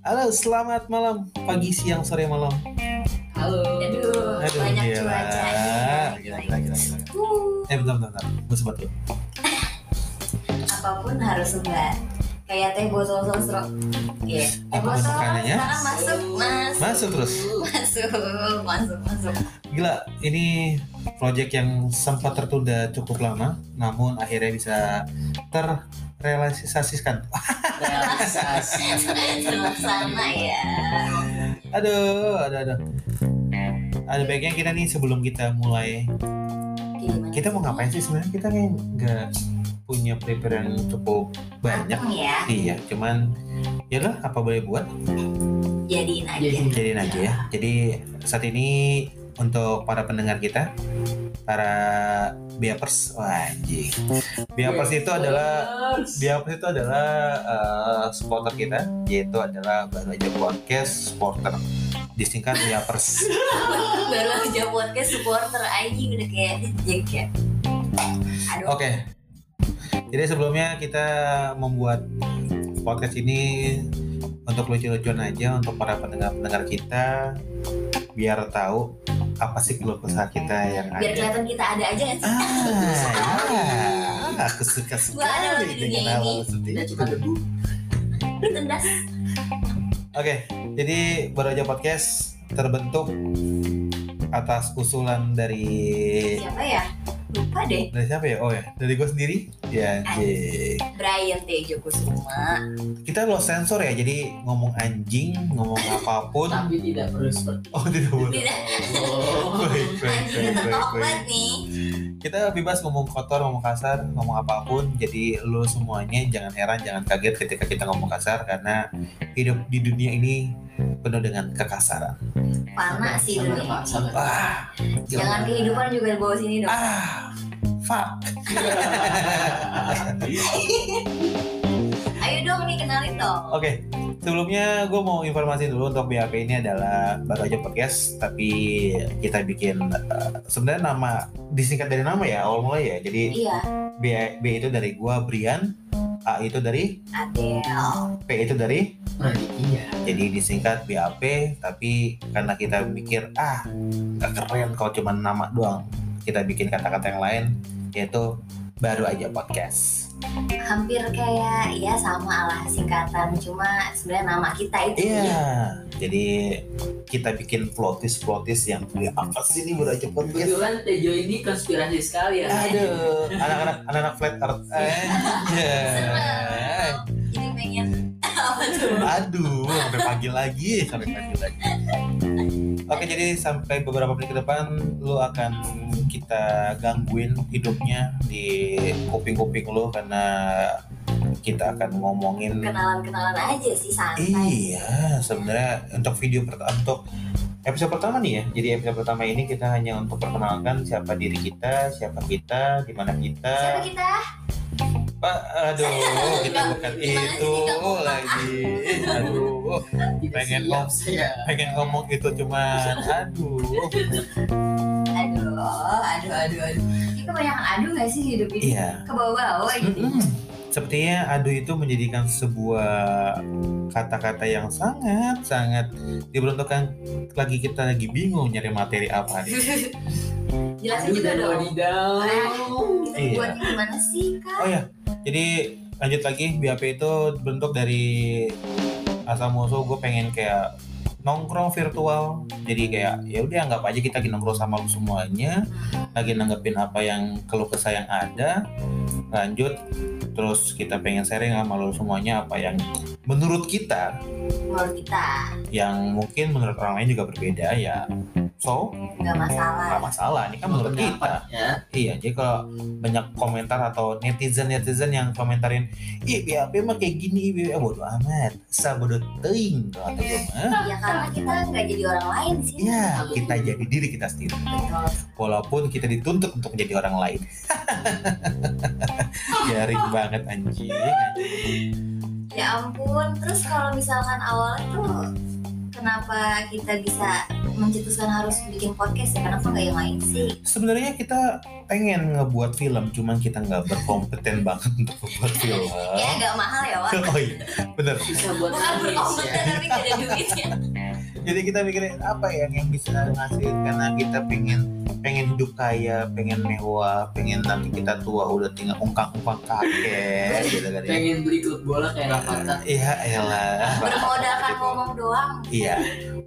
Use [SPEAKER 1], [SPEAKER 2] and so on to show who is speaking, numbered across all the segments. [SPEAKER 1] Halo, selamat malam, pagi, siang, sore, malam.
[SPEAKER 2] Halo.
[SPEAKER 3] Aduh,
[SPEAKER 1] Aduh,
[SPEAKER 3] banyak
[SPEAKER 1] gila.
[SPEAKER 3] cuaca.
[SPEAKER 1] Gila, gila, gila, gila.
[SPEAKER 3] Uh,
[SPEAKER 1] Eh, bentar, bentar, bentar. Gue sebat dulu.
[SPEAKER 3] apapun harus enggak. Kayak teh botol sosro. Iya. Teh
[SPEAKER 1] Apa
[SPEAKER 3] botol
[SPEAKER 1] makanannya?
[SPEAKER 3] sekarang masuk, masuk,
[SPEAKER 1] Masuk terus.
[SPEAKER 3] masuk, masuk, masuk.
[SPEAKER 1] Gila, ini project yang sempat tertunda cukup lama, namun akhirnya bisa terrealisasikan.
[SPEAKER 2] Relaksasi.
[SPEAKER 3] Terlaksana ya.
[SPEAKER 1] Aduh, aduh, aduh. Ada baiknya kita nih sebelum kita mulai,
[SPEAKER 3] Gimana
[SPEAKER 1] kita mau
[SPEAKER 3] sih?
[SPEAKER 1] ngapain sih sebenarnya? Kita kayak nggak punya preparation yang cukup banyak.
[SPEAKER 3] Mateng ya,
[SPEAKER 1] Iya, cuman ya lah apa boleh buat
[SPEAKER 3] jadiin aja.
[SPEAKER 2] Jadi.
[SPEAKER 1] jadiin aja ya. Jadi saat ini untuk para pendengar kita, para biapers, wah anjing. Biapers itu adalah Biapers itu adalah eh, supporter kita, yaitu adalah baru aja podcast supporter. Disingkat biapers.
[SPEAKER 3] Baru aja podcast supporter anjing udah kayak jack ya. Aduh,
[SPEAKER 1] Oke. Jadi sebelumnya kita membuat podcast ini untuk lucu-lucuan aja untuk para pendengar-pendengar kita biar tahu apa sih keluh kesah kita yang
[SPEAKER 3] biar
[SPEAKER 1] ada.
[SPEAKER 3] kelihatan kita ada aja nggak sih?
[SPEAKER 1] Ah, ya. Aku suka
[SPEAKER 3] Gua ada
[SPEAKER 1] sekali
[SPEAKER 3] di dunia
[SPEAKER 1] dengan
[SPEAKER 3] ini.
[SPEAKER 1] hal seperti
[SPEAKER 2] Tidak
[SPEAKER 1] itu.
[SPEAKER 2] cuma debu.
[SPEAKER 1] Ah.
[SPEAKER 3] Lu tendas.
[SPEAKER 1] Oke, jadi baru aja podcast terbentuk atas usulan dari
[SPEAKER 3] Siapa ya? Lupa deh.
[SPEAKER 1] dari siapa ya? Oh ya, dari gue sendiri. Ya, anjing.
[SPEAKER 3] Brian Tejo Kusuma.
[SPEAKER 1] kita lost sensor ya jadi ngomong anjing ngomong apapun
[SPEAKER 2] Tapi tidak perlu seperti
[SPEAKER 1] oh tidak boleh
[SPEAKER 3] Tidak
[SPEAKER 1] Baik, baik, baik, baik,
[SPEAKER 3] anjing tetap
[SPEAKER 1] baik.
[SPEAKER 3] banget nih.
[SPEAKER 1] kita bebas ngomong kotor ngomong kasar ngomong apapun jadi lo semuanya jangan heran jangan kaget ketika kita ngomong kasar karena hidup di dunia ini penuh dengan kekasaran
[SPEAKER 3] Panas sih
[SPEAKER 2] Sabar,
[SPEAKER 3] dunia.
[SPEAKER 2] Pak, sabar.
[SPEAKER 1] ah
[SPEAKER 3] Jangan kehidupan juga di bawah sini dong.
[SPEAKER 1] ah fuck
[SPEAKER 3] Ayo dong nih kenalin dong.
[SPEAKER 1] Oke, sebelumnya gue mau informasi dulu untuk BAP ini adalah baru aja podcast, tapi kita bikin eh, sebenarnya nama disingkat dari nama ya awal mula ya. Jadi
[SPEAKER 3] Iya,
[SPEAKER 1] B, B itu dari gue Brian, A itu dari
[SPEAKER 3] Adele.
[SPEAKER 1] P itu dari,
[SPEAKER 2] Nah, Predikinya.
[SPEAKER 1] jadi disingkat BAP. Tapi karena kita mikir ah nggak keren kalau cuma nama doang, kita bikin kata-kata yang lain yaitu baru aja podcast.
[SPEAKER 3] Hampir kayak ya sama lah singkatan cuma sebenarnya nama kita itu.
[SPEAKER 1] Iya, jadi kita bikin plotis-plotis yang ya, apa sih ini baru aja podcast?
[SPEAKER 2] Kebetulan Tejo ini konspirasi sekali ya.
[SPEAKER 1] Aduh, anak-anak anak-anak flat earth. Iya. Anjay.
[SPEAKER 3] Serem. Jadi pengen apa tuh?
[SPEAKER 1] Aduh, sampai pagi lagi, sampai pagi lagi. Oke, jadi sampai beberapa menit ke depan lu akan kita gangguin hidupnya di kuping-kuping lu karena kita akan ngomongin
[SPEAKER 3] Kenalan-kenalan aja sih santai.
[SPEAKER 1] Iya, sebenarnya untuk video pertama untuk episode pertama nih ya. Jadi episode pertama ini kita hanya untuk perkenalkan siapa diri kita, siapa kita, di mana
[SPEAKER 3] Siapa
[SPEAKER 1] kita.
[SPEAKER 3] kita?
[SPEAKER 1] Pak, aduh, kita bukan
[SPEAKER 3] Gimana
[SPEAKER 1] itu
[SPEAKER 3] sih kamu, Pak?
[SPEAKER 1] lagi. Aduh,
[SPEAKER 2] Tidak
[SPEAKER 1] Pengen Iya.
[SPEAKER 2] siap
[SPEAKER 1] ngom-
[SPEAKER 2] saya.
[SPEAKER 1] pengen ngomong itu cuman aduh.
[SPEAKER 3] Aduh, aduh, aduh, aduh. Ini kebanyakan aduh gak sih hidup ini?
[SPEAKER 1] Iya.
[SPEAKER 3] Ke bawah-bawah gitu.
[SPEAKER 1] Mm-mm. Sepertinya adu itu menjadikan sebuah kata-kata yang sangat sangat diperuntukkan lagi kita lagi bingung nyari materi apa nih.
[SPEAKER 2] Aduh,
[SPEAKER 3] Jelasin juga
[SPEAKER 2] dan
[SPEAKER 3] dong. Nah,
[SPEAKER 2] wadidaw.
[SPEAKER 3] Kita
[SPEAKER 1] Iya.
[SPEAKER 3] buatnya gimana sih
[SPEAKER 1] Oh
[SPEAKER 3] kak?
[SPEAKER 1] ya, jadi lanjut lagi BAP itu bentuk dari asal musuh gue pengen kayak nongkrong virtual jadi kayak ya udah anggap aja kita lagi nongkrong sama lu semuanya lagi nanggepin apa yang keluh kesah yang ada lanjut terus kita pengen sharing sama lu semuanya apa yang menurut kita
[SPEAKER 3] Menurut kita
[SPEAKER 1] yang mungkin menurut orang lain juga berbeda ya so
[SPEAKER 3] nggak masalah.
[SPEAKER 1] nggak masalah ini kan menurut kita
[SPEAKER 2] Pendapat ya.
[SPEAKER 1] Iya, jadi kalau banyak komentar atau netizen-netizen yang komentarin, ih BAP mah kayak gini, ih BAP bodo amat, sabodo teing kalau kata gue mah.
[SPEAKER 3] Ya karena kita nggak jadi orang lain sih.
[SPEAKER 1] Ya, kita jadi diri kita sendiri,
[SPEAKER 3] Betul.
[SPEAKER 1] walaupun kita dituntut untuk menjadi orang lain. Garing banget anjing.
[SPEAKER 3] Ya ampun. Terus kalau misalkan awalnya tuh kenapa kita bisa mencetuskan harus bikin podcast ya kenapa nggak yang lain sih
[SPEAKER 1] Sebenarnya kita pengen ngebuat film, cuman kita nggak berkompeten banget untuk membuat film.
[SPEAKER 3] ya agak mahal ya Wak
[SPEAKER 1] Oh iya, bener.
[SPEAKER 2] Bisa buat
[SPEAKER 3] bukan
[SPEAKER 1] Iya.
[SPEAKER 3] berkompeten
[SPEAKER 2] ya.
[SPEAKER 3] tapi gak ada duitnya
[SPEAKER 1] Jadi kita mikirin apa ya yang bisa ngasih karena kita pengen pengen hidup kaya, pengen mewah, pengen nanti kita tua udah tinggal ungkang-ungkang kakek gitu kan ya.
[SPEAKER 2] Pengen beli klub bola kayak Rafathar.
[SPEAKER 1] Iya, elah.
[SPEAKER 3] bermodalkan ngomong doang
[SPEAKER 1] Iya.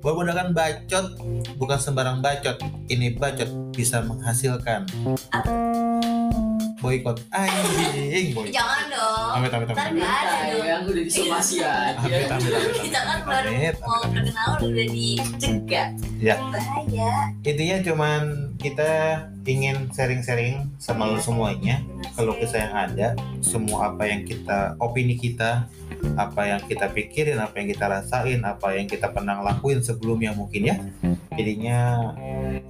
[SPEAKER 1] Bermodalkan bacot bukan sembarang bacot. Ini bacot bisa menghasilkan boikot anjing boikot.
[SPEAKER 3] jangan dong
[SPEAKER 1] Amit amit amit.
[SPEAKER 3] Ntar nggak ada dong
[SPEAKER 2] Sayang udah disomasi
[SPEAKER 1] Amit,
[SPEAKER 2] aja.
[SPEAKER 1] amit, amit, amit.
[SPEAKER 3] kita kan baru
[SPEAKER 1] Amit, amit,
[SPEAKER 3] mau
[SPEAKER 1] amit.
[SPEAKER 3] perkenalan udah dicegah
[SPEAKER 1] Ya.
[SPEAKER 3] bahaya
[SPEAKER 1] Intinya cuman kita ingin sharing-sharing sama lo semuanya kalau kisah yang ada, semua apa yang kita opini kita, apa yang kita pikirin, apa yang kita rasain, apa yang kita pernah lakuin sebelumnya mungkin ya. Jadinya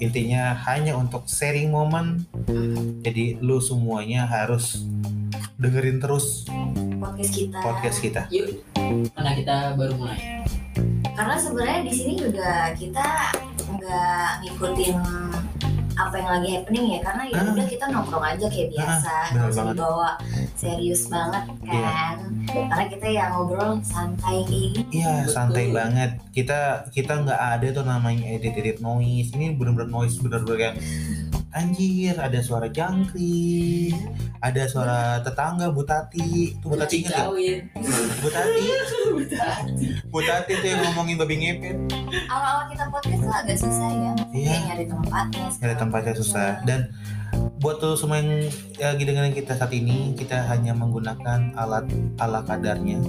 [SPEAKER 1] intinya hanya untuk sharing momen. Jadi lu semuanya harus dengerin terus
[SPEAKER 3] podcast kita
[SPEAKER 1] podcast kita.
[SPEAKER 2] Yuk, karena kita baru mulai.
[SPEAKER 3] karena sebenarnya di sini juga kita nggak ngikutin apa yang lagi happening ya karena ya
[SPEAKER 1] Ah.
[SPEAKER 3] udah kita nongkrong aja kayak biasa
[SPEAKER 1] bener
[SPEAKER 3] nggak usah
[SPEAKER 1] banget.
[SPEAKER 3] dibawa serius banget
[SPEAKER 1] Iya.
[SPEAKER 3] kan karena kita ya ngobrol santai kayak gini
[SPEAKER 1] Iya
[SPEAKER 2] Betul.
[SPEAKER 1] santai banget. Kita kita nggak ada tuh namanya edit edit noise. Ini bener-bener noise bener-bener kayak anjir ada suara jangkrik, ada suara tetangga Butati. Tuh Butati inget ya?
[SPEAKER 2] Cawin.
[SPEAKER 1] Butati, Butati tuh yang ngomongin babi ngepet.
[SPEAKER 3] awal-awal kita podcast tuh agak susah ya kayak
[SPEAKER 1] Iya.
[SPEAKER 3] nyari tempatnya
[SPEAKER 1] Nyari tempatnya susah dan buat tuh semua yang ya, lagi dengerin kita saat ini kita hanya menggunakan alat ala kadarnya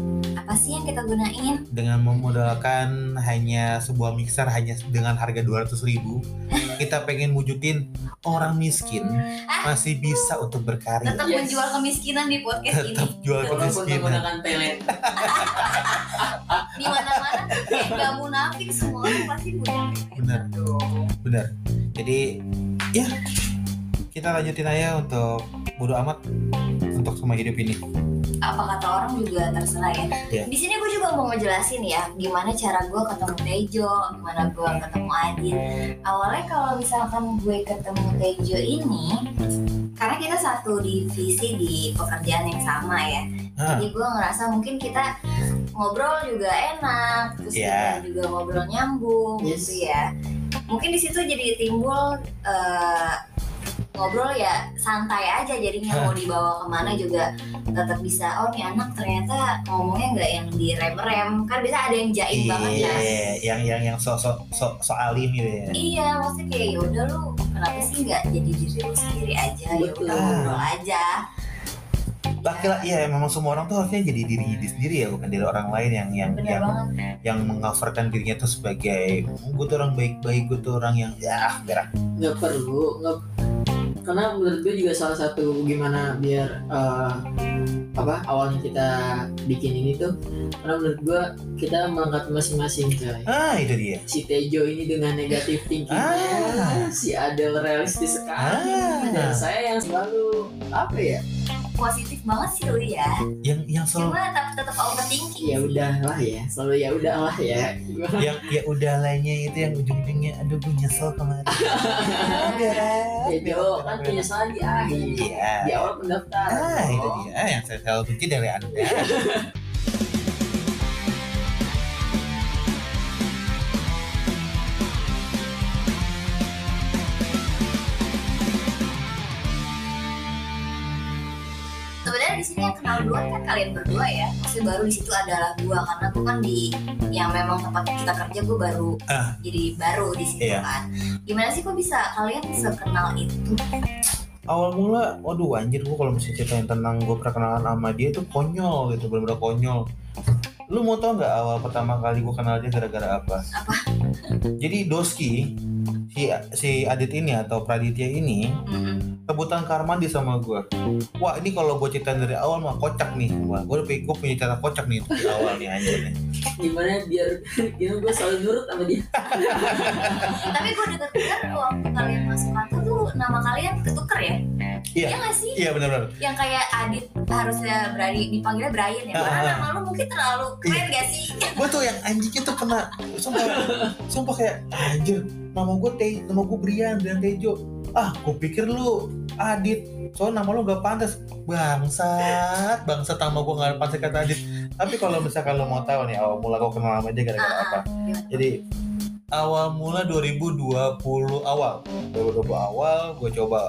[SPEAKER 3] apa sih yang kita gunain
[SPEAKER 1] dengan memodalkan hanya sebuah mixer hanya dengan harga 200.000 ribu kita pengen wujudin orang miskin masih bisa untuk berkarya
[SPEAKER 3] tetap
[SPEAKER 2] Yes.
[SPEAKER 3] menjual kemiskinan di podcast ini
[SPEAKER 1] Iya. tetap jual
[SPEAKER 2] Walaupun
[SPEAKER 1] kemiskinan
[SPEAKER 2] menggunakan pelet.
[SPEAKER 3] di mana-mana kayak nggak munafik semua orang pasti munafik
[SPEAKER 1] bener bener jadi ya kita lanjutin aja untuk bodo amat untuk semua hidup ini
[SPEAKER 3] apa kata orang juga terserah ya.
[SPEAKER 1] Iya.
[SPEAKER 3] Di sini gue juga mau ngejelasin ya gimana cara gue ketemu Tejo, gimana gue ketemu Adit. Awalnya kalau misalkan gue ketemu Tejo ini, karena kita satu divisi di pekerjaan yang sama ya,
[SPEAKER 1] Hah,
[SPEAKER 3] jadi gue ngerasa mungkin kita ngobrol juga enak, terus
[SPEAKER 1] Iya.
[SPEAKER 3] kita juga ngobrol nyambung
[SPEAKER 2] Yes.
[SPEAKER 3] gitu ya. Mungkin di situ jadi timbul eh, ngobrol ya santai aja jadinya mau dibawa kemana juga tetap bisa oh nih anak ternyata ngomongnya nggak yang direm-rem kan bisa ada yang jaim banget
[SPEAKER 1] iya
[SPEAKER 3] ya
[SPEAKER 1] yang yang yang sok sok sok sok alim gitu ya
[SPEAKER 3] iya maksudnya kayak yaudah lu kenapa sih nggak jadi diri lu sendiri aja ya
[SPEAKER 2] Betul.
[SPEAKER 3] udah ngobrol aja
[SPEAKER 1] laki lah iya memang semua orang tuh harusnya jadi diri diri sendiri ya bukan diri orang lain yang yang
[SPEAKER 3] Iya. bener
[SPEAKER 1] yang
[SPEAKER 3] banget
[SPEAKER 1] yang mengoverkan dirinya tuh sebagai "Mm, gue tuh orang baik-baik gue tuh orang yang ya berak
[SPEAKER 2] nggak perlu nggak karena menurut gue juga salah satu gimana biar eh, apa awalnya kita bikin ini tuh karena menurut gue kita mengangkat masing-masing coy
[SPEAKER 1] ah itu dia
[SPEAKER 2] si Tejo ini dengan negatif
[SPEAKER 1] Ah.
[SPEAKER 2] thinkingnya si Adel realistis sekali
[SPEAKER 1] Ah.
[SPEAKER 2] dan saya yang selalu apa ya
[SPEAKER 3] positif banget sih lu ya
[SPEAKER 1] yang yang selalu
[SPEAKER 3] cuma tetap tetap overthinking
[SPEAKER 2] ya udahlah ya selalu ya udahlah ya
[SPEAKER 1] yang ya udah lainnya itu yang ujung-ujungnya aduh gue nyesel Iya, kemarin
[SPEAKER 3] Ya,
[SPEAKER 2] Tejo kan penyesalan di akhir di
[SPEAKER 1] iya
[SPEAKER 2] awal pendaftaran
[SPEAKER 1] ah itu
[SPEAKER 2] dong.
[SPEAKER 1] dia yang saya selalu benci dari anda
[SPEAKER 3] sebenarnya di sini yang kenal duluan kan kalian berdua ya maksudnya baru di situ adalah gua karena gua kan di yang memang tempat kita kerja gua baru
[SPEAKER 1] Ah.
[SPEAKER 3] jadi baru di situ
[SPEAKER 1] Iya.
[SPEAKER 3] kan gimana sih kok bisa kalian sekenal itu
[SPEAKER 1] awal mula waduh anjir gue kalau mesti ceritain tentang gue perkenalan sama dia tuh konyol gitu bener-bener konyol lu mau tau nggak awal pertama kali gue kenal dia gara-gara apa?
[SPEAKER 3] Apa?
[SPEAKER 1] Jadi Doski si si Adit ini atau Praditya ini
[SPEAKER 3] Mm-mm.
[SPEAKER 1] rebutan karma dia sama gue. Wah ini kalau gue ceritain dari awal mah kocak nih. Wah gue gue punya cara kocak nih di awal nih anjir nih.
[SPEAKER 2] gimana biar gimana gue selalu nurut sama dia
[SPEAKER 3] tapi gua denger dengar waktu kalian masuk kantor tuh nama kalian ketuker ya?
[SPEAKER 1] Iya.
[SPEAKER 3] Iya nggak sih?
[SPEAKER 1] Iya benar-benar.
[SPEAKER 3] Yang kayak Adit harusnya berani dipanggilnya Brian ya.
[SPEAKER 1] Ah, ah.
[SPEAKER 3] Karena
[SPEAKER 1] Iya.
[SPEAKER 3] nama lu mungkin terlalu keren gak sih?
[SPEAKER 1] Gue tuh yang anjingnya tuh pernah sumpah sumpah kayak anjir nama gue Teh nama gue Brian Brian Tejo. Ah gue pikir lu Adit soalnya nama lu gak pantas bangsat bangsat nama gue gak pantas kata Adit tapi kalau misalkan lo mau tahu nih awal mula gue kenal sama dia gara-gara
[SPEAKER 3] Ah,
[SPEAKER 1] apa
[SPEAKER 3] ah.
[SPEAKER 1] jadi awal mula 2020 awal 2020 awal gue coba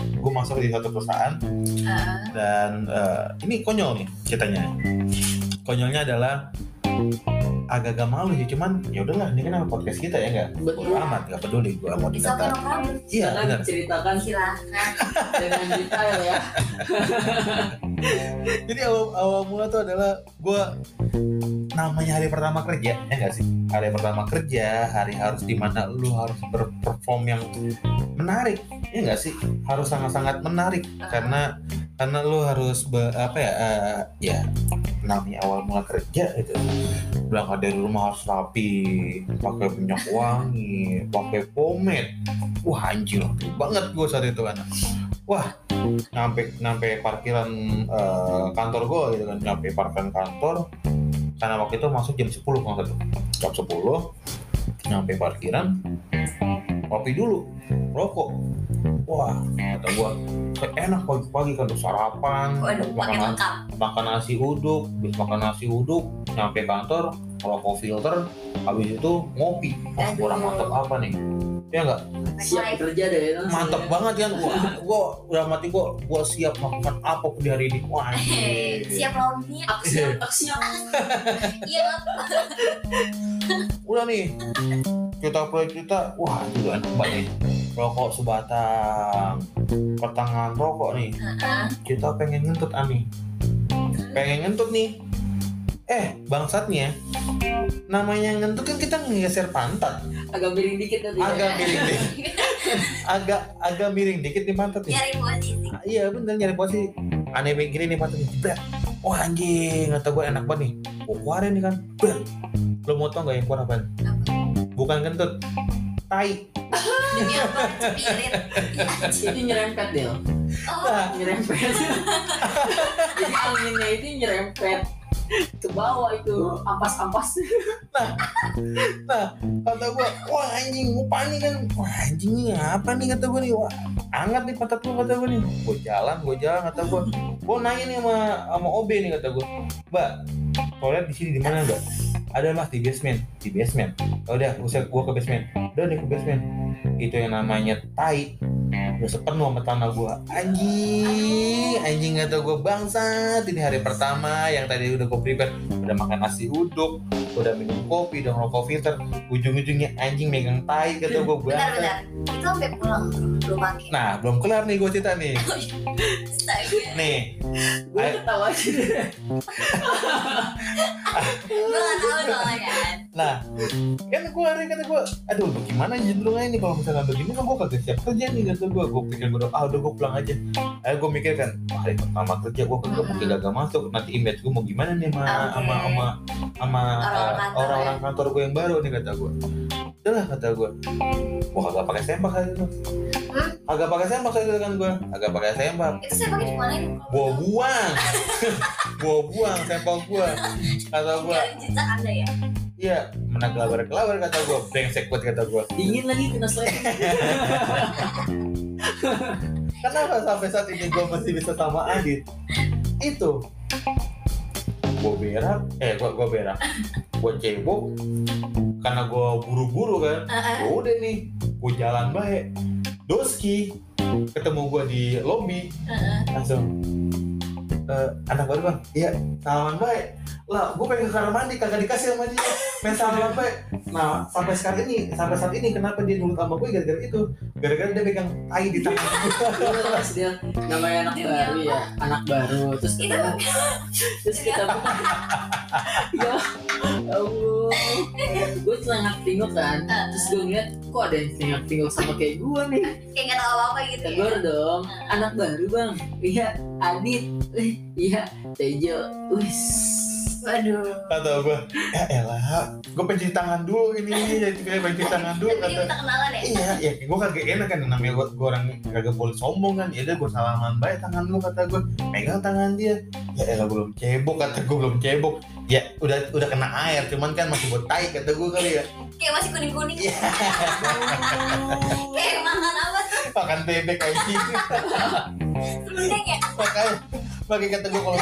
[SPEAKER 1] gue masuk di satu perusahaan
[SPEAKER 3] Ah,
[SPEAKER 1] dan eh, ini konyol nih ceritanya konyolnya adalah agak-agak malu sih cuman ya udahlah ini kan nama podcast kita ya enggak
[SPEAKER 2] Betul.
[SPEAKER 1] bodo amat nggak peduli gua mau
[SPEAKER 3] It's okay,
[SPEAKER 1] dikata
[SPEAKER 3] no problem.
[SPEAKER 1] iya
[SPEAKER 2] Karena
[SPEAKER 1] benar
[SPEAKER 2] diceritakan
[SPEAKER 3] Silakan.
[SPEAKER 2] kan dengan detail ya.
[SPEAKER 1] jadi awal awal mula tuh adalah gua namanya hari pertama kerja ya enggak sih hari pertama kerja hari harus dimana lu harus berperform yang menarik ya enggak sih harus sangat-sangat menarik karena karena lu harus be- apa ya eh, ya namanya awal mula kerja gitu berangkat dari rumah harus rapi pakai minyak wangi pakai pomade wah anjir banget gue saat itu kan wah nyampe nyampe parkiran eh, kantor gue gitu kan nyampe parkiran kantor karena waktu itu masuk jam 10 kalau nggak salah. jam 10 nyampe parkiran kopi dulu rokok wah kata gue enak pagi-pagi kan tuh sarapan
[SPEAKER 3] Waduh, makin
[SPEAKER 1] makan
[SPEAKER 3] lengkap.
[SPEAKER 1] makan nasi uduk, habis makan nasi uduk, nyampe kantor, rokok filter, habis itu ngopi. Wah, kurang mantep apa nih? Ya enggak,
[SPEAKER 2] Siap
[SPEAKER 3] Baik-baik.
[SPEAKER 2] bekerja deh. langsung
[SPEAKER 1] mantep
[SPEAKER 2] ya.
[SPEAKER 1] banget kan gua. Gua udah mati gua, gua siap melakukan apa pun di hari ini. Wah,
[SPEAKER 3] Hei,
[SPEAKER 1] anjir.
[SPEAKER 3] Eh, Siap lawan dia.
[SPEAKER 2] Aksi, aksi.
[SPEAKER 3] Iya.
[SPEAKER 1] Udah nih. Kita proyek kita, wah itu enak banget nih. Rokok sebatang, pertengahan rokok nih.
[SPEAKER 3] Heeh.
[SPEAKER 1] Kita pengen ngentut Ami. Pengen ngentut nih. Eh, bangsatnya. Namanya ngentut kan kita ngegeser pantat.
[SPEAKER 2] Agak miring dikit tadi. ya.
[SPEAKER 1] agak miring dikit agak agak miring dikit nih pantat nih
[SPEAKER 3] Nyari posisi.
[SPEAKER 1] Ah, iya bener nyari posisi aneh mikirin nih pantat nih Jebret. oh anjing kata gue enak banget nih gue keluarin nih kan Brr. lo mau tau gak yang keluar apaan bukan kentut tai
[SPEAKER 3] Demi apa? Cepirit. Ya,
[SPEAKER 2] Itu nyerempet deh.
[SPEAKER 3] Oh,
[SPEAKER 1] Nah,
[SPEAKER 2] Nyerempet. Jadi anginnya itu nyerempet ke bawah itu
[SPEAKER 1] Oh.
[SPEAKER 2] ampas-ampas
[SPEAKER 1] kata gue wah anjing gue panik kan wah anjing ini apa nih kata gue nih wah hangat nih pantat gue kata gue nih gue jalan gue jalan kata gue gue nanya nih sama sama OB nih kata gue mbak toilet di sini di mana mbak ada mas di basement di basement "Ya udah usah gue ke basement udah deh ke basement itu yang namanya tai udah sepenuh sama tanah gue anjing anjing kata gue bangsat ini hari pertama yang tadi udah gue prepare udah makan nasi uduk udah minum kopi udah ngerokok filter ujung-ujungnya anjing megang tai kata gue bangsat
[SPEAKER 3] bentar-bentar. Itu sampai pulang lu pakai.
[SPEAKER 1] nah belum kelar nih gue cerita nih
[SPEAKER 3] Astaga.
[SPEAKER 1] nih
[SPEAKER 2] gue
[SPEAKER 1] Ayo.
[SPEAKER 2] ketawa aja
[SPEAKER 3] Gue gak tau soalnya kan.
[SPEAKER 1] Nah, kan gue hari kata gue, aduh bagaimana jenderungannya nih kalau misalnya begini kan gue kagak siap kerja nih kata gue, gue pikir gue udah, ah udah gue pulang aja. Akhirnya gue mikir kan, wah hari pertama kerja gue kagak mungkin kagak masuk, nanti image gue mau gimana nih sama
[SPEAKER 3] Oke.
[SPEAKER 1] sama sama sama
[SPEAKER 3] Orang-orang
[SPEAKER 1] eh,
[SPEAKER 3] kantor ya.
[SPEAKER 1] orang-orang kantor gue yang baru nih kata gue. Udahlah kata gue, gue kagak pakai sempak hari itu.
[SPEAKER 3] Hmm?
[SPEAKER 1] Agak pakai sempak hari itu kan gue, agak pakai sempak
[SPEAKER 3] Itu saya pakai dimanain?
[SPEAKER 1] gue buang, gue buang sempak gue, kata gue,
[SPEAKER 3] Tinggalin jejak anda ya?
[SPEAKER 1] iya menang kelabar kelabar kata gue, brengsek banget kata gue.
[SPEAKER 2] dingin lagi kena slide
[SPEAKER 1] Kenapa sampai saat ini gue masih bisa sama Adit? Itu gue berak, eh gue gue berak, gue cebok karena gue buru-buru kan.
[SPEAKER 3] Heeh.
[SPEAKER 1] Ya udah nih, gue jalan baik. Doski ketemu gue di lobby
[SPEAKER 3] Heeh.
[SPEAKER 1] langsung "Eh, anak baru bang iya salaman baik lah gue pengen ke kamar mandi kagak dikasih sama dia main salaman baik nah sampai sekarang ini sampai saat ini kenapa dia nurut sama gue gara-gara itu gara-gara dia pegang tai di tangan gue
[SPEAKER 2] Terus dia namanya anak
[SPEAKER 3] Demi
[SPEAKER 2] baru
[SPEAKER 3] apa?
[SPEAKER 2] ya, anak baru. Terus
[SPEAKER 3] Itu Iya.
[SPEAKER 2] kita terus kita ya Allah. Gue celengak tinggal kan. Terus gue ngeliat kok ada yang celengak tinggal sama kayak gue nih.
[SPEAKER 3] kayak gak tau apa-apa gitu ya?
[SPEAKER 2] Tegur dong, anak baru bang. Iya, Adit. Eh, Iya, Tejo. Wis.
[SPEAKER 3] Waduh.
[SPEAKER 1] kata gue ya elah gue pengen cuci tangan dulu ini jadi kayak pengen cuci tangan dulu
[SPEAKER 3] Tapi
[SPEAKER 1] kata
[SPEAKER 3] kita kenalan ya.
[SPEAKER 1] iya ya gue kagak enak kan namanya gue, gue orang kagak boleh sombong kan ya udah gue salaman baik tangan lu kata gue megang tangan dia ya elah gue belum cebok kata gue belum cebok ya udah udah kena air cuman kan masih buat tai kata gue kali ya
[SPEAKER 3] Kayak masih kuning-kuning.
[SPEAKER 1] Iya.
[SPEAKER 3] Kayak makan apa tuh?
[SPEAKER 1] makan bebek aja
[SPEAKER 3] Serundeng ya?
[SPEAKER 1] makanya pakai kata gue kalau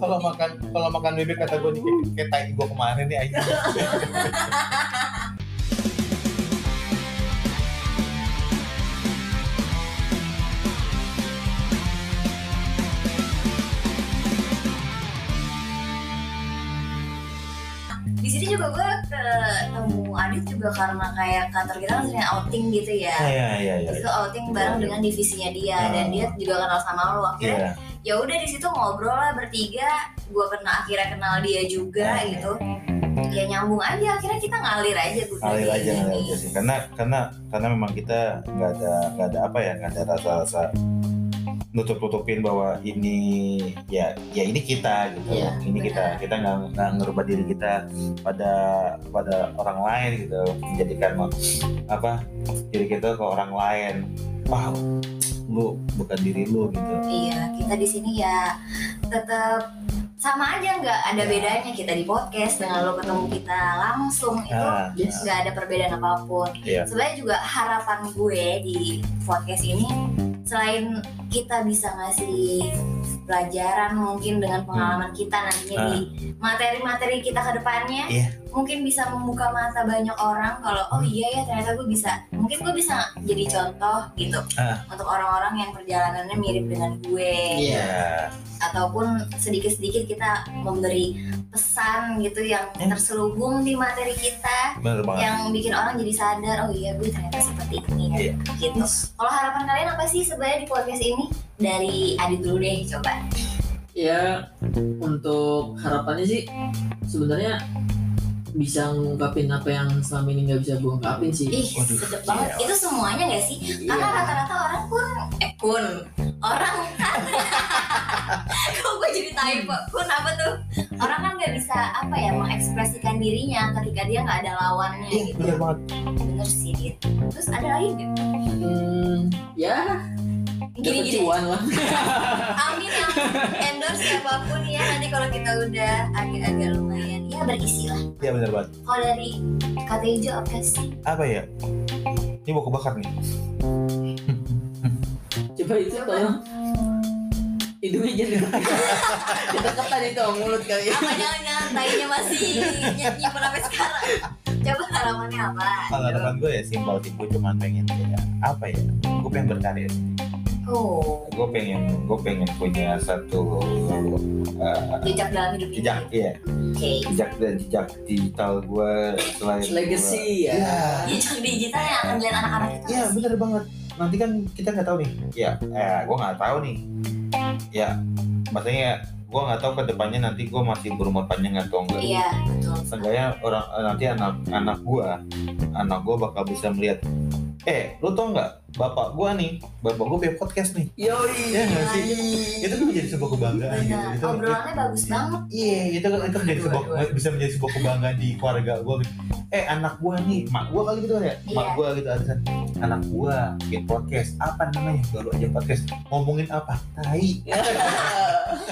[SPEAKER 1] kalau makan kalau makan bebek kata gue nih kayak- kayak tai gue kemarin nih aja
[SPEAKER 3] Di sini juga gue ketemu Adit juga karena kayak kantor kita kan sering outing gitu ya.
[SPEAKER 1] iya iya iya
[SPEAKER 3] Itu outing bareng dengan divisinya dia dan dia juga kenal sama lo akhirnya
[SPEAKER 1] Iya.
[SPEAKER 3] ya udah di situ ngobrol lah bertiga gue kenal akhirnya kenal dia juga
[SPEAKER 1] Ah.
[SPEAKER 3] gitu ya nyambung aja akhirnya kita ngalir aja gue bilang
[SPEAKER 1] ngalir aja
[SPEAKER 3] kayak
[SPEAKER 1] ngalir
[SPEAKER 3] gini.
[SPEAKER 1] aja sih karena karena karena memang kita nggak ada nggak ada apa ya nggak ada rasa-rasa nutup tutupin bahwa ini ya ya ini kita gitu
[SPEAKER 2] Iya,
[SPEAKER 1] ini kita kita nggak nggak ngerubah diri kita pada pada orang lain gitu menjadikan apa diri kita ke orang lain wow lu bukan diri lu gitu
[SPEAKER 3] iya kita di sini ya tetap sama aja nggak ada
[SPEAKER 1] Ya.
[SPEAKER 3] bedanya kita di podcast dengan lo ketemu kita langsung itu
[SPEAKER 1] nah
[SPEAKER 2] Yes.
[SPEAKER 3] nggak ada perbedaan apapun
[SPEAKER 1] Iya.
[SPEAKER 3] sebenarnya juga harapan gue di podcast ini selain kita bisa ngasih pelajaran mungkin dengan pengalaman kita nantinya
[SPEAKER 1] Hmm. Ah.
[SPEAKER 3] di materi-materi kita ke depannya
[SPEAKER 1] Iya.
[SPEAKER 3] mungkin bisa membuka mata banyak orang kalau oh iya ya ternyata gue bisa mungkin gue bisa jadi contoh gitu
[SPEAKER 1] Ah.
[SPEAKER 3] untuk orang-orang yang perjalanannya mirip dengan gue
[SPEAKER 2] Iya.
[SPEAKER 1] ya,
[SPEAKER 3] ataupun sedikit-sedikit kita memberi pesan gitu yang
[SPEAKER 1] Hmm.
[SPEAKER 3] terselubung di materi kita
[SPEAKER 1] bener banget
[SPEAKER 3] yang bikin orang jadi sadar oh iya gue ternyata seperti ini ya
[SPEAKER 1] Iya.
[SPEAKER 3] gitu kalau harapan kalian apa sih sebenarnya di podcast ini dari Adit dulu deh coba
[SPEAKER 2] ya untuk harapannya sih sebenarnya bisa ngungkapin apa yang selama ini nggak bisa gue ungkapin sih
[SPEAKER 3] ih
[SPEAKER 1] Waduh,
[SPEAKER 3] sedep banget
[SPEAKER 1] iya.
[SPEAKER 3] itu semuanya gak sih
[SPEAKER 2] Iya.
[SPEAKER 3] karena rata-rata orang pun eh kun orang kan kok gue jadi typo kun apa tuh orang kan gak bisa apa ya mengekspresikan dirinya ketika dia nggak ada lawannya
[SPEAKER 1] iya
[SPEAKER 3] gitu
[SPEAKER 1] bener banget
[SPEAKER 3] bener sih Dit. terus ada lagi nggak?
[SPEAKER 2] hmm, ya dapat
[SPEAKER 3] gini-gini
[SPEAKER 2] cuan lah
[SPEAKER 3] Amin yang endorse siapapun ya nanti kalau kita udah agak-agak lumayan ya berisi lah.
[SPEAKER 1] iya bener banget
[SPEAKER 3] Kalau dari kata hijau apa sih?
[SPEAKER 1] apa ya ini mau kebakar nih
[SPEAKER 2] coba itu tolong hidungnya jadi keteketan itu sama mulut kali ya
[SPEAKER 3] Apa jangan-jangan tainya masih nyanyi sampai sekarang? Coba halamannya apa?
[SPEAKER 1] kalau harapan gue ya simpel sih gue cuma pengen kayak apa ya gue pengen berkarya sih
[SPEAKER 3] Oh,
[SPEAKER 1] gue pengen gue pengen punya satu uh,
[SPEAKER 3] jejak dalam hidup ini.
[SPEAKER 1] jejak ya
[SPEAKER 3] Oke.
[SPEAKER 1] jejak dan jejak digital gue selain gua-
[SPEAKER 2] legacy ya
[SPEAKER 3] Jejak digital yang akan dilihat anak-anak kita.
[SPEAKER 1] Iya
[SPEAKER 3] sih?
[SPEAKER 1] bener banget. Nanti kan kita nggak tahu nih. Ya, eh, gue nggak tahu nih. Ya, maksudnya gue nggak tahu ke depannya nanti gue masih berumur panjang atau enggak.
[SPEAKER 3] Iya, betul.
[SPEAKER 1] Seenggaknya orang eh, nanti anak anak gue, anak gue bakal bisa melihat. Eh, lu tau nggak? Bapak gue nih, bapak gue punya podcast nih.
[SPEAKER 2] yoi
[SPEAKER 1] Iya nggak sih? Itu kan menjadi sebuah kebanggaan gitu.
[SPEAKER 3] Benar.
[SPEAKER 1] Itu,
[SPEAKER 3] Iya, Obrolannya bagus banget.
[SPEAKER 1] Iya, itu kan itu menjadi sebuah bisa menjadi sebuah kebanggaan di keluarga gue. gitu. Eh, anak gue nih, mak gue kali gitu kan ya, mak
[SPEAKER 3] Iya.
[SPEAKER 1] gue gitu ada satu, anak gue bikin podcast. Apa namanya? Baru aja podcast. Ngomongin apa? Tai.
[SPEAKER 2] Ya.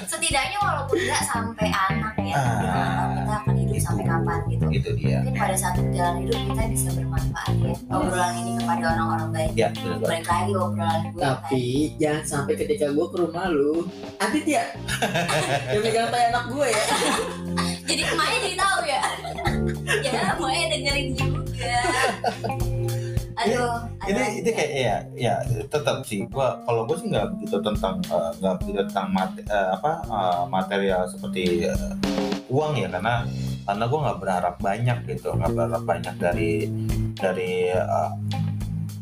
[SPEAKER 3] Setidaknya walaupun nggak sampai anak ya,
[SPEAKER 1] Ah.
[SPEAKER 3] kita nggak tahu kita akan hidup
[SPEAKER 1] Itu.
[SPEAKER 3] sampai kapan gitu.
[SPEAKER 1] Itu dia.
[SPEAKER 3] mungkin pada saat jalan hidup kita bisa bermanfaat ya obrolan ini kepada orang-orang baik
[SPEAKER 1] Ya, benar banget.
[SPEAKER 3] balik lagi obrolan gue kan. tadi.
[SPEAKER 2] tapi jangan sampai ketika gue ke rumah lu Adit ya yang megang tay anak gue ya
[SPEAKER 3] jadi emaknya jadi tahu ya ya emaknya dengerin juga aduh
[SPEAKER 1] Itu
[SPEAKER 3] aduh.
[SPEAKER 1] itu Iya, kayak ya ya tetap sih gua kalau gua sih nggak begitu tentang eh, nggak begitu tentang mate- eh, apa eh, material seperti eh, uang ya karena karena gua nggak berharap banyak gitu nggak berharap banyak dari dari eh,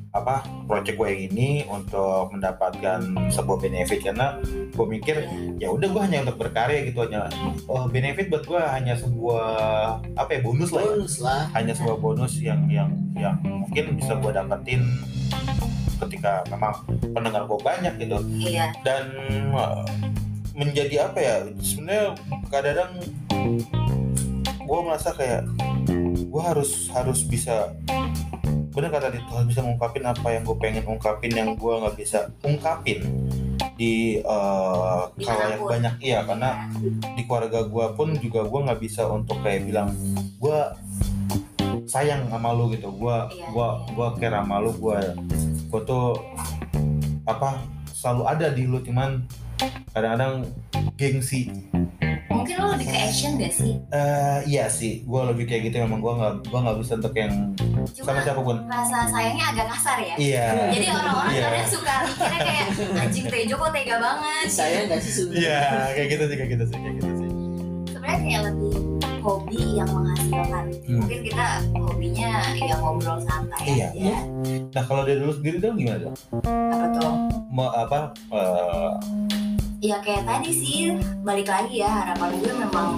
[SPEAKER 1] apa project gue yang ini untuk mendapatkan sebuah benefit karena gue mikir ya udah gue hanya untuk berkarya gitu hanya oh, benefit buat gue hanya sebuah apa ya bonus lah ya
[SPEAKER 2] bonus lah
[SPEAKER 1] hanya sebuah bonus yang yang yang mungkin bisa gue dapetin ketika memang pendengar gue banyak gitu eh,
[SPEAKER 3] iya
[SPEAKER 1] dan uh, menjadi apa ya sebenarnya kadang gue merasa kayak gue harus harus bisa bener kata Dito harus bisa ngungkapin apa yang gue pengen ungkapin yang gue nggak bisa ungkapin di eh,
[SPEAKER 3] Dimanapun.
[SPEAKER 1] kalayak banyak iya karena di keluarga gue pun juga gue nggak bisa untuk kayak bilang gue sayang sama lu gitu gue
[SPEAKER 3] Iya,
[SPEAKER 1] gua
[SPEAKER 3] iya.
[SPEAKER 1] gue care sama lu gue gue tuh apa selalu ada di lu cuman kadang-kadang gengsi
[SPEAKER 3] mungkin lo lebih ke action gak sih
[SPEAKER 1] Eh, iya sih gue lebih kayak gitu memang gue nggak gue nggak bisa untuk yang sama
[SPEAKER 3] cuma
[SPEAKER 1] siapapun
[SPEAKER 3] rasa sayangnya agak kasar ya
[SPEAKER 1] iya
[SPEAKER 3] jadi orang-orang
[SPEAKER 1] Iya.
[SPEAKER 3] kadang suka mikirnya kayak anjing Tejo kok tega banget
[SPEAKER 2] saya nggak sih sebenarnya
[SPEAKER 1] iya kayak gitu sih kayak gitu sih kayak gitu sih
[SPEAKER 3] sebenarnya kayak lebih hobi yang menghasilkan
[SPEAKER 1] Hmm.
[SPEAKER 3] mungkin kita hobinya ya ngobrol santai
[SPEAKER 1] Iya.
[SPEAKER 3] aja
[SPEAKER 1] nah kalau dari dulu sendiri dong gimana dong
[SPEAKER 3] apa tuh
[SPEAKER 1] Mau apa eh,
[SPEAKER 3] ya kayak tadi sih balik lagi ya harapan gue memang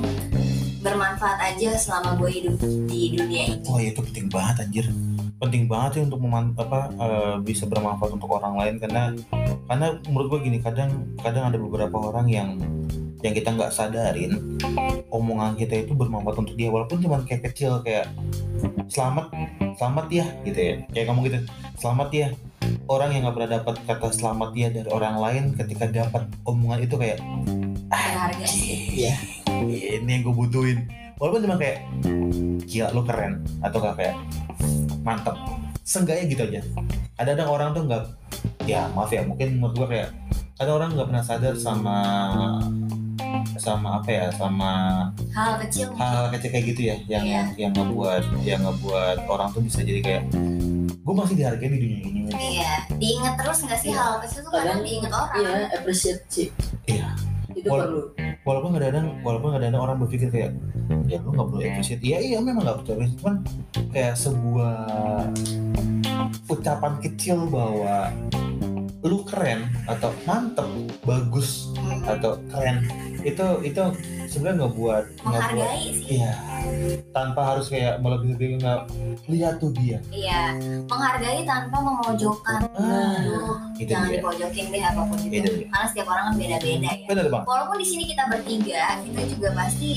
[SPEAKER 3] bermanfaat aja selama gue hidup di dunia ini
[SPEAKER 1] Wah Oh, iya, itu penting banget anjir penting banget sih untuk meman apa eh, bisa bermanfaat untuk orang lain karena karena menurut gue gini kadang kadang ada beberapa orang yang yang kita nggak sadarin omongan kita itu bermanfaat untuk dia walaupun cuma kayak kecil kayak selamat selamat ya gitu ya kayak kamu gitu selamat ya orang yang nggak pernah dapat kata selamat ya dari orang lain ketika dapat omongan itu kayak
[SPEAKER 3] berharga sih
[SPEAKER 1] Iya. Ini yang gue butuhin. Walaupun cuma kayak gila lu keren atau nggak kayak mantep. Seenggaknya gitu aja. Ada ada orang tuh nggak ya maaf ya mungkin menurut gue kayak ada orang nggak pernah sadar sama sama apa ya sama
[SPEAKER 3] hal kecil
[SPEAKER 1] hal-hal kecil kayak gitu ya yang
[SPEAKER 3] Iya.
[SPEAKER 1] yang ngebuat yang ngebuat orang tuh bisa jadi kayak gue masih dihargai di dunia ini
[SPEAKER 3] Iya, diinget terus nggak sih
[SPEAKER 1] Iya.
[SPEAKER 3] hal kecil tuh kadang
[SPEAKER 2] Kadang-
[SPEAKER 3] diinget orang.
[SPEAKER 2] iya appreciate sih
[SPEAKER 1] Iya.
[SPEAKER 2] itu
[SPEAKER 1] Wal-
[SPEAKER 2] perlu
[SPEAKER 1] walaupun
[SPEAKER 3] Hmm.
[SPEAKER 1] kadang-kadang walaupun kadang-kadang orang berpikir kayak ya lu nggak perlu appreciate iya iya memang nggak perlu appreciate cuman kayak sebuah ucapan kecil bahwa lu keren atau mantep bagus
[SPEAKER 3] Hmm,
[SPEAKER 1] atau keren itu itu sebenarnya nggak buat nggak buat
[SPEAKER 3] Menghargai sih.
[SPEAKER 1] iya tanpa harus kayak melebih-lebih nggak lihat tuh dia
[SPEAKER 3] Iya, menghargai tanpa memojokkan.
[SPEAKER 1] ah Gitu.
[SPEAKER 3] Aduh,
[SPEAKER 1] itu
[SPEAKER 3] Nah, jangan
[SPEAKER 1] dia
[SPEAKER 3] dipojokin deh apapun
[SPEAKER 1] Itu
[SPEAKER 3] itu.
[SPEAKER 1] dia.
[SPEAKER 3] Karena setiap orang kan beda-beda ya.
[SPEAKER 1] benar banget
[SPEAKER 3] Walaupun di sini kita bertiga, kita juga pasti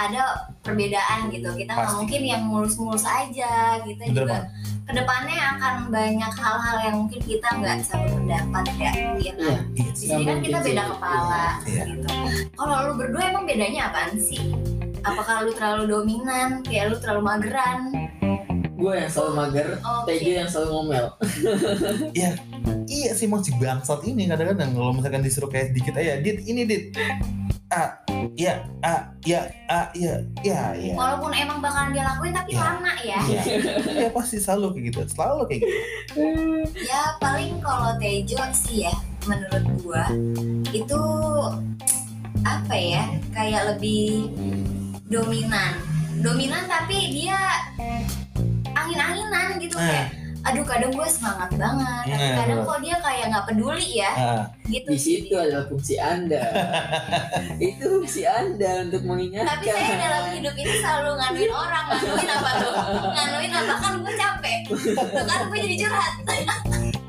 [SPEAKER 3] ada perbedaan gitu. Kita nggak
[SPEAKER 1] Pasti.
[SPEAKER 3] mungkin yang mulus-mulus aja. Kita
[SPEAKER 1] benar
[SPEAKER 3] juga
[SPEAKER 1] banget
[SPEAKER 3] kedepannya akan banyak hal-hal yang mungkin kita nggak satu pendapat ya. Iya. kan?
[SPEAKER 2] Iya.
[SPEAKER 1] Iya.
[SPEAKER 3] Di sini kan kita beda kepala
[SPEAKER 1] Iya.
[SPEAKER 3] gitu. Kalau lu berdua emang bedanya apaan sih? Apakah lu terlalu dominan, kayak lu terlalu mageran?
[SPEAKER 2] gue yang selalu mager
[SPEAKER 3] Oke.
[SPEAKER 2] Tejo yang selalu ngomel
[SPEAKER 1] Iya sih emang si bangsat ini kadang-kadang kalau misalkan disuruh kayak dikit aja, dit ini dit. Ah, ya, ah, ya, ah, ya, ya, ya.
[SPEAKER 3] Walaupun emang bakalan dia lakuin tapi
[SPEAKER 1] Iya.
[SPEAKER 3] lama ya.
[SPEAKER 1] Iya, Iya, pasti selalu kayak gitu, selalu kayak gitu.
[SPEAKER 3] Ya paling kalau Tejo sih ya menurut gua itu apa ya? Kayak lebih dominan. Dominan tapi dia angin-anginan gitu
[SPEAKER 2] Iya.
[SPEAKER 1] Nah.
[SPEAKER 3] kayak aduh kadang gue semangat banget tapi
[SPEAKER 1] Nah,
[SPEAKER 3] kadang
[SPEAKER 1] bener.
[SPEAKER 3] kok dia kayak nggak peduli ya
[SPEAKER 1] Ah,
[SPEAKER 3] gitu
[SPEAKER 2] di
[SPEAKER 3] sih.
[SPEAKER 2] situ adalah fungsi anda itu fungsi anda untuk
[SPEAKER 3] tapi saya dalam
[SPEAKER 2] mengingatkan
[SPEAKER 3] hidup ini selalu nganuin orang nganuin apa tuh nganuin apa kan gue capek tuh kan gue jadi curhat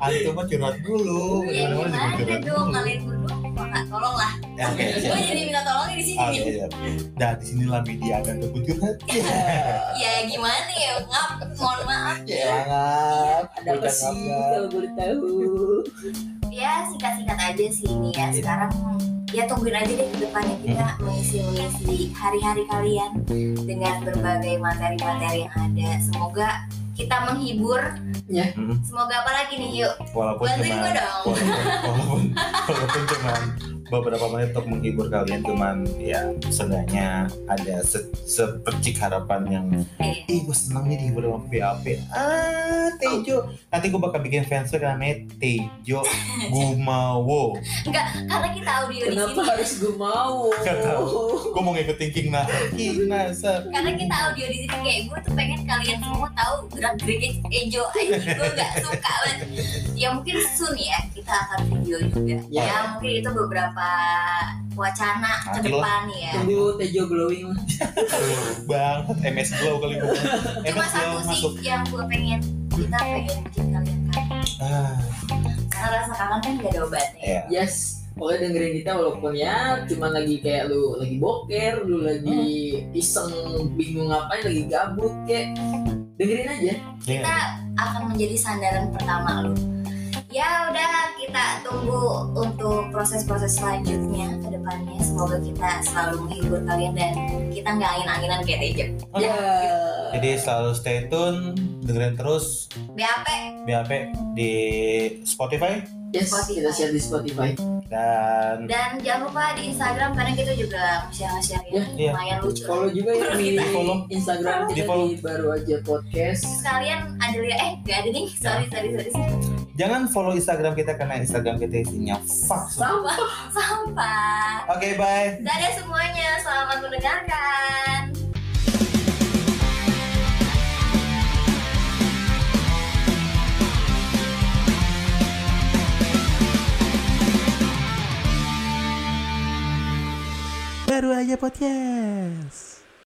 [SPEAKER 1] antum mah curhat dulu.
[SPEAKER 3] ya
[SPEAKER 2] Iya,
[SPEAKER 1] Bagaimana juga
[SPEAKER 3] gimana
[SPEAKER 1] Oh, curhat
[SPEAKER 3] dong
[SPEAKER 1] dulu.
[SPEAKER 3] kalian berdua minta tolong lah
[SPEAKER 1] Ya, Oke, siap.
[SPEAKER 3] gue jadi minta tolongnya di sini
[SPEAKER 1] Oke,
[SPEAKER 3] nih
[SPEAKER 1] siap. Dan disinilah media dan untuk curhat.
[SPEAKER 2] Iya.
[SPEAKER 3] ya gimana ya ngap mohon maaf
[SPEAKER 1] Ya, ngap.
[SPEAKER 2] Iya. ada apa
[SPEAKER 1] Bocah
[SPEAKER 2] sih
[SPEAKER 1] ngap.
[SPEAKER 2] kalau boleh tahu
[SPEAKER 3] ya singkat-singkat aja sih ini ya sekarang ya tungguin aja deh ke depannya kita mengisi-mengisi hari-hari kalian dengan berbagai materi-materi yang ada semoga kita menghibur
[SPEAKER 1] Mm,
[SPEAKER 3] semoga apa lagi nih yuk
[SPEAKER 1] Walaupun
[SPEAKER 3] bantuin
[SPEAKER 1] cuma
[SPEAKER 3] gue dong
[SPEAKER 1] walaupun walaupun, walaupun cuman beberapa menit untuk menghibur kalian cuman ya seenggaknya ada se sepercik harapan yang
[SPEAKER 3] Iya.
[SPEAKER 1] ih gue senang nih dihibur sama PAP ah Tejo nanti gue bakal bikin fanspage namanya Tejo Gumawo
[SPEAKER 3] karena kita audio di
[SPEAKER 2] kenapa
[SPEAKER 3] sini
[SPEAKER 2] harus gue mau
[SPEAKER 1] Gak gue mau ngikutin King Nah King Nasar
[SPEAKER 3] karena kita audio di sini kayak gue tuh pengen kalian semua tahu gerak geriknya Ejo anjing gue gak suka banget ya mungkin soon ya kita akan video juga
[SPEAKER 2] Ya.
[SPEAKER 3] ya mungkin itu beberapa wacana ke
[SPEAKER 1] Nanti lah.
[SPEAKER 3] depan ya
[SPEAKER 2] tunggu Tejo glowing lah
[SPEAKER 1] banget MS Glow kali gue
[SPEAKER 3] cuma
[SPEAKER 1] MS Glow Ya,
[SPEAKER 3] satu
[SPEAKER 1] masuk
[SPEAKER 3] sih yang gue pengen kita pengen bikin kalian kangen
[SPEAKER 1] ah
[SPEAKER 3] karena rasa kangen kan gak kan ada obatnya
[SPEAKER 1] ya
[SPEAKER 2] yes Pokoknya dengerin kita walaupun ya cuman lagi kayak lu lagi boker, lu lagi iseng bingung ngapain, lagi gabut kayak dengerin aja.
[SPEAKER 3] kita akan menjadi sandaran pertama lu ya udah kita tunggu untuk proses-proses selanjutnya ke depannya semoga kita selalu menghibur kalian dan kita nggak angin-anginan kayak Tejep
[SPEAKER 2] Ya.
[SPEAKER 1] Jadi selalu stay tune, dengerin terus
[SPEAKER 3] BAP
[SPEAKER 1] BAP di Spotify
[SPEAKER 2] Yes,
[SPEAKER 3] Spotify.
[SPEAKER 2] kita share di Spotify.
[SPEAKER 1] dan
[SPEAKER 3] dan jangan lupa di Instagram karena kita juga share-share
[SPEAKER 2] Ya,
[SPEAKER 3] ini
[SPEAKER 1] iya.
[SPEAKER 3] lumayan lucu
[SPEAKER 2] Follow juga ya di
[SPEAKER 3] Kita-
[SPEAKER 1] follow.
[SPEAKER 2] Instagram
[SPEAKER 1] Di
[SPEAKER 2] kita
[SPEAKER 1] follow.
[SPEAKER 2] di baru aja podcast.
[SPEAKER 3] sekalian ada li- eh nggak ada nih sorry sorry sorry
[SPEAKER 1] jangan follow Instagram kita karena Instagram kita isinya fuck. Oke,
[SPEAKER 2] Sama.
[SPEAKER 3] sampah
[SPEAKER 1] bye.
[SPEAKER 3] dadah semuanya selamat mendengarkan
[SPEAKER 1] Baru aja podcast.